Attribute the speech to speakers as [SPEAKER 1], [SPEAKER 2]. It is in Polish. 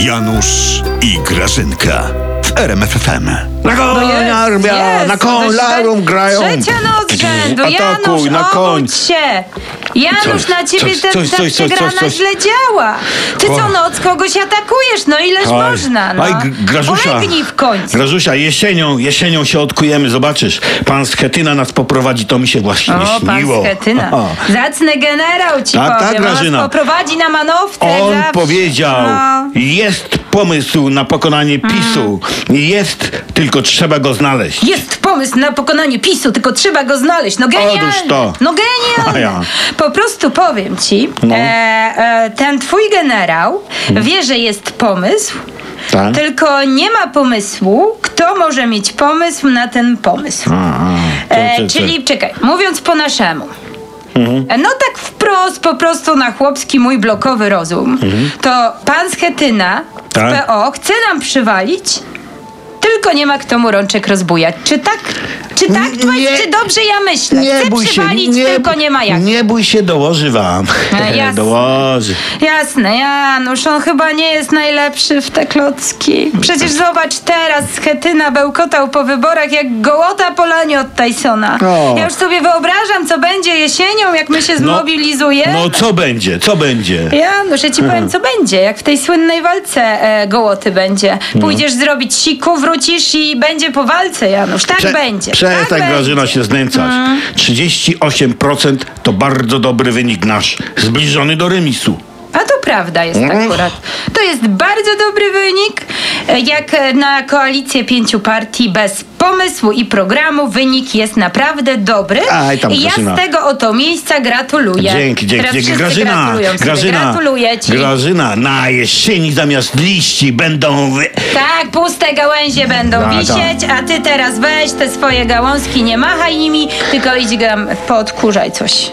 [SPEAKER 1] Janusz i Grażynka w RMFFM.
[SPEAKER 2] Na
[SPEAKER 3] No
[SPEAKER 2] koń
[SPEAKER 3] jest,
[SPEAKER 2] armia,
[SPEAKER 3] jest.
[SPEAKER 2] na
[SPEAKER 3] To
[SPEAKER 2] koń
[SPEAKER 3] jest
[SPEAKER 2] larum
[SPEAKER 3] trze-
[SPEAKER 2] grają.
[SPEAKER 3] Trzecia noc rzędu.
[SPEAKER 2] Atakuj,
[SPEAKER 3] Janusz,
[SPEAKER 2] na koń.
[SPEAKER 3] obudź się. Janusz,
[SPEAKER 2] Coś,
[SPEAKER 3] na ciebie
[SPEAKER 2] coś,
[SPEAKER 3] ta,
[SPEAKER 2] coś,
[SPEAKER 3] ta
[SPEAKER 2] coś, coś,
[SPEAKER 3] przegrana
[SPEAKER 2] coś, coś.
[SPEAKER 3] źle działa. Ty co
[SPEAKER 2] O.
[SPEAKER 3] noc kogoś atakujesz, no ileż
[SPEAKER 2] Aj,
[SPEAKER 3] można. No.
[SPEAKER 2] Aj, Gr- Grażusia.
[SPEAKER 3] Polegnij w końcu.
[SPEAKER 2] Grażusia, jesienią, jesienią się odkujemy, zobaczysz. Pan Schetyna nas poprowadzi, to mi się właśnie
[SPEAKER 3] O, pan
[SPEAKER 2] śniło.
[SPEAKER 3] Schetyna.
[SPEAKER 2] Aha.
[SPEAKER 3] Zacny generał ci
[SPEAKER 2] Tak, tak,
[SPEAKER 3] powiem. On
[SPEAKER 2] Grażyna.
[SPEAKER 3] nas poprowadzi na manowce. jak
[SPEAKER 2] On
[SPEAKER 3] zawsze.
[SPEAKER 2] powiedział,
[SPEAKER 3] No. Mm.
[SPEAKER 2] jest pomysł na pokonanie PiSu. Jest, tylko trzeba go znaleźć.
[SPEAKER 3] Jest pomysł na pokonanie PiSu, tylko trzeba go znaleźć. No genialne.
[SPEAKER 2] Otóż to.
[SPEAKER 3] No
[SPEAKER 2] A
[SPEAKER 3] genialne.
[SPEAKER 2] ja.
[SPEAKER 3] Po prostu powiem ci,
[SPEAKER 2] No.
[SPEAKER 3] e, e, ten twój generał wie, że jest pomysł,
[SPEAKER 2] Tak?
[SPEAKER 3] tylko nie ma pomysłu, kto może mieć pomysł na ten pomysł.
[SPEAKER 2] A, a, to-
[SPEAKER 3] E,
[SPEAKER 2] to- to-
[SPEAKER 3] czyli czekaj, mówiąc po naszemu. E, No tak wprost, po prostu na chłopski mój blokowy rozum. To pan Schetyna z
[SPEAKER 2] Mhm. Tak.
[SPEAKER 3] PO chce nam przywalić, tylko nie ma kto mu rączek rozbujać. Czy tak, czy tak,
[SPEAKER 2] Nie-
[SPEAKER 3] Twoś, czy dobrze ja myślę? Tak. chce przywalić, tylko nie ma jak.
[SPEAKER 2] nie bój się, dołoży wam.
[SPEAKER 3] E, jasne.
[SPEAKER 2] dołoży.
[SPEAKER 3] Jasne, Janusz, on chyba nie jest najlepszy w te klocki. Przecież zobacz teraz, Schetyna bełkotał po wyborach jak gołota po laniu od Tysona.
[SPEAKER 2] O.
[SPEAKER 3] Ja już sobie wyobrażam, co będzie jesienią, jak my się zmobilizujemy.
[SPEAKER 2] No co będzie, co będzie?
[SPEAKER 3] Janusz, ja ci powiem, co będzie, jak w tej słynnej walce e, gołoty będzie.
[SPEAKER 2] No.
[SPEAKER 3] Pójdziesz zrobić siku, wrócisz i będzie po walce, Janusz. Tak
[SPEAKER 2] Prze-
[SPEAKER 3] będzie. Mhm.
[SPEAKER 2] Przestań,
[SPEAKER 3] tak
[SPEAKER 2] Grażyna, się znęcać. 38% to bardzo dobry wynik nasz, zbliżony do remisu.
[SPEAKER 3] A to prawda jest
[SPEAKER 2] Mm.
[SPEAKER 3] akurat. To jest bardzo dobry wynik. E, Jak e, na koalicję pięciu partii bez pomysłu i programu wynik jest naprawdę dobry.
[SPEAKER 2] Aj, tam,
[SPEAKER 3] I ja
[SPEAKER 2] Grażyna.
[SPEAKER 3] z tego oto miejsca gratuluję.
[SPEAKER 2] Dzięki, dzięki,
[SPEAKER 3] Teraz
[SPEAKER 2] dzięki.
[SPEAKER 3] wszyscy
[SPEAKER 2] Grażyna,
[SPEAKER 3] gratulują sobie.
[SPEAKER 2] Grażyna,
[SPEAKER 3] Gratuluję ci.
[SPEAKER 2] Grażyna, na jesieni zamiast liści będą wy...
[SPEAKER 3] tak, puste gałęzie będą
[SPEAKER 2] Da, da.
[SPEAKER 3] wisieć, a ty teraz weź te swoje gałązki, nie machaj nimi, tylko idź gram podkurzaj coś.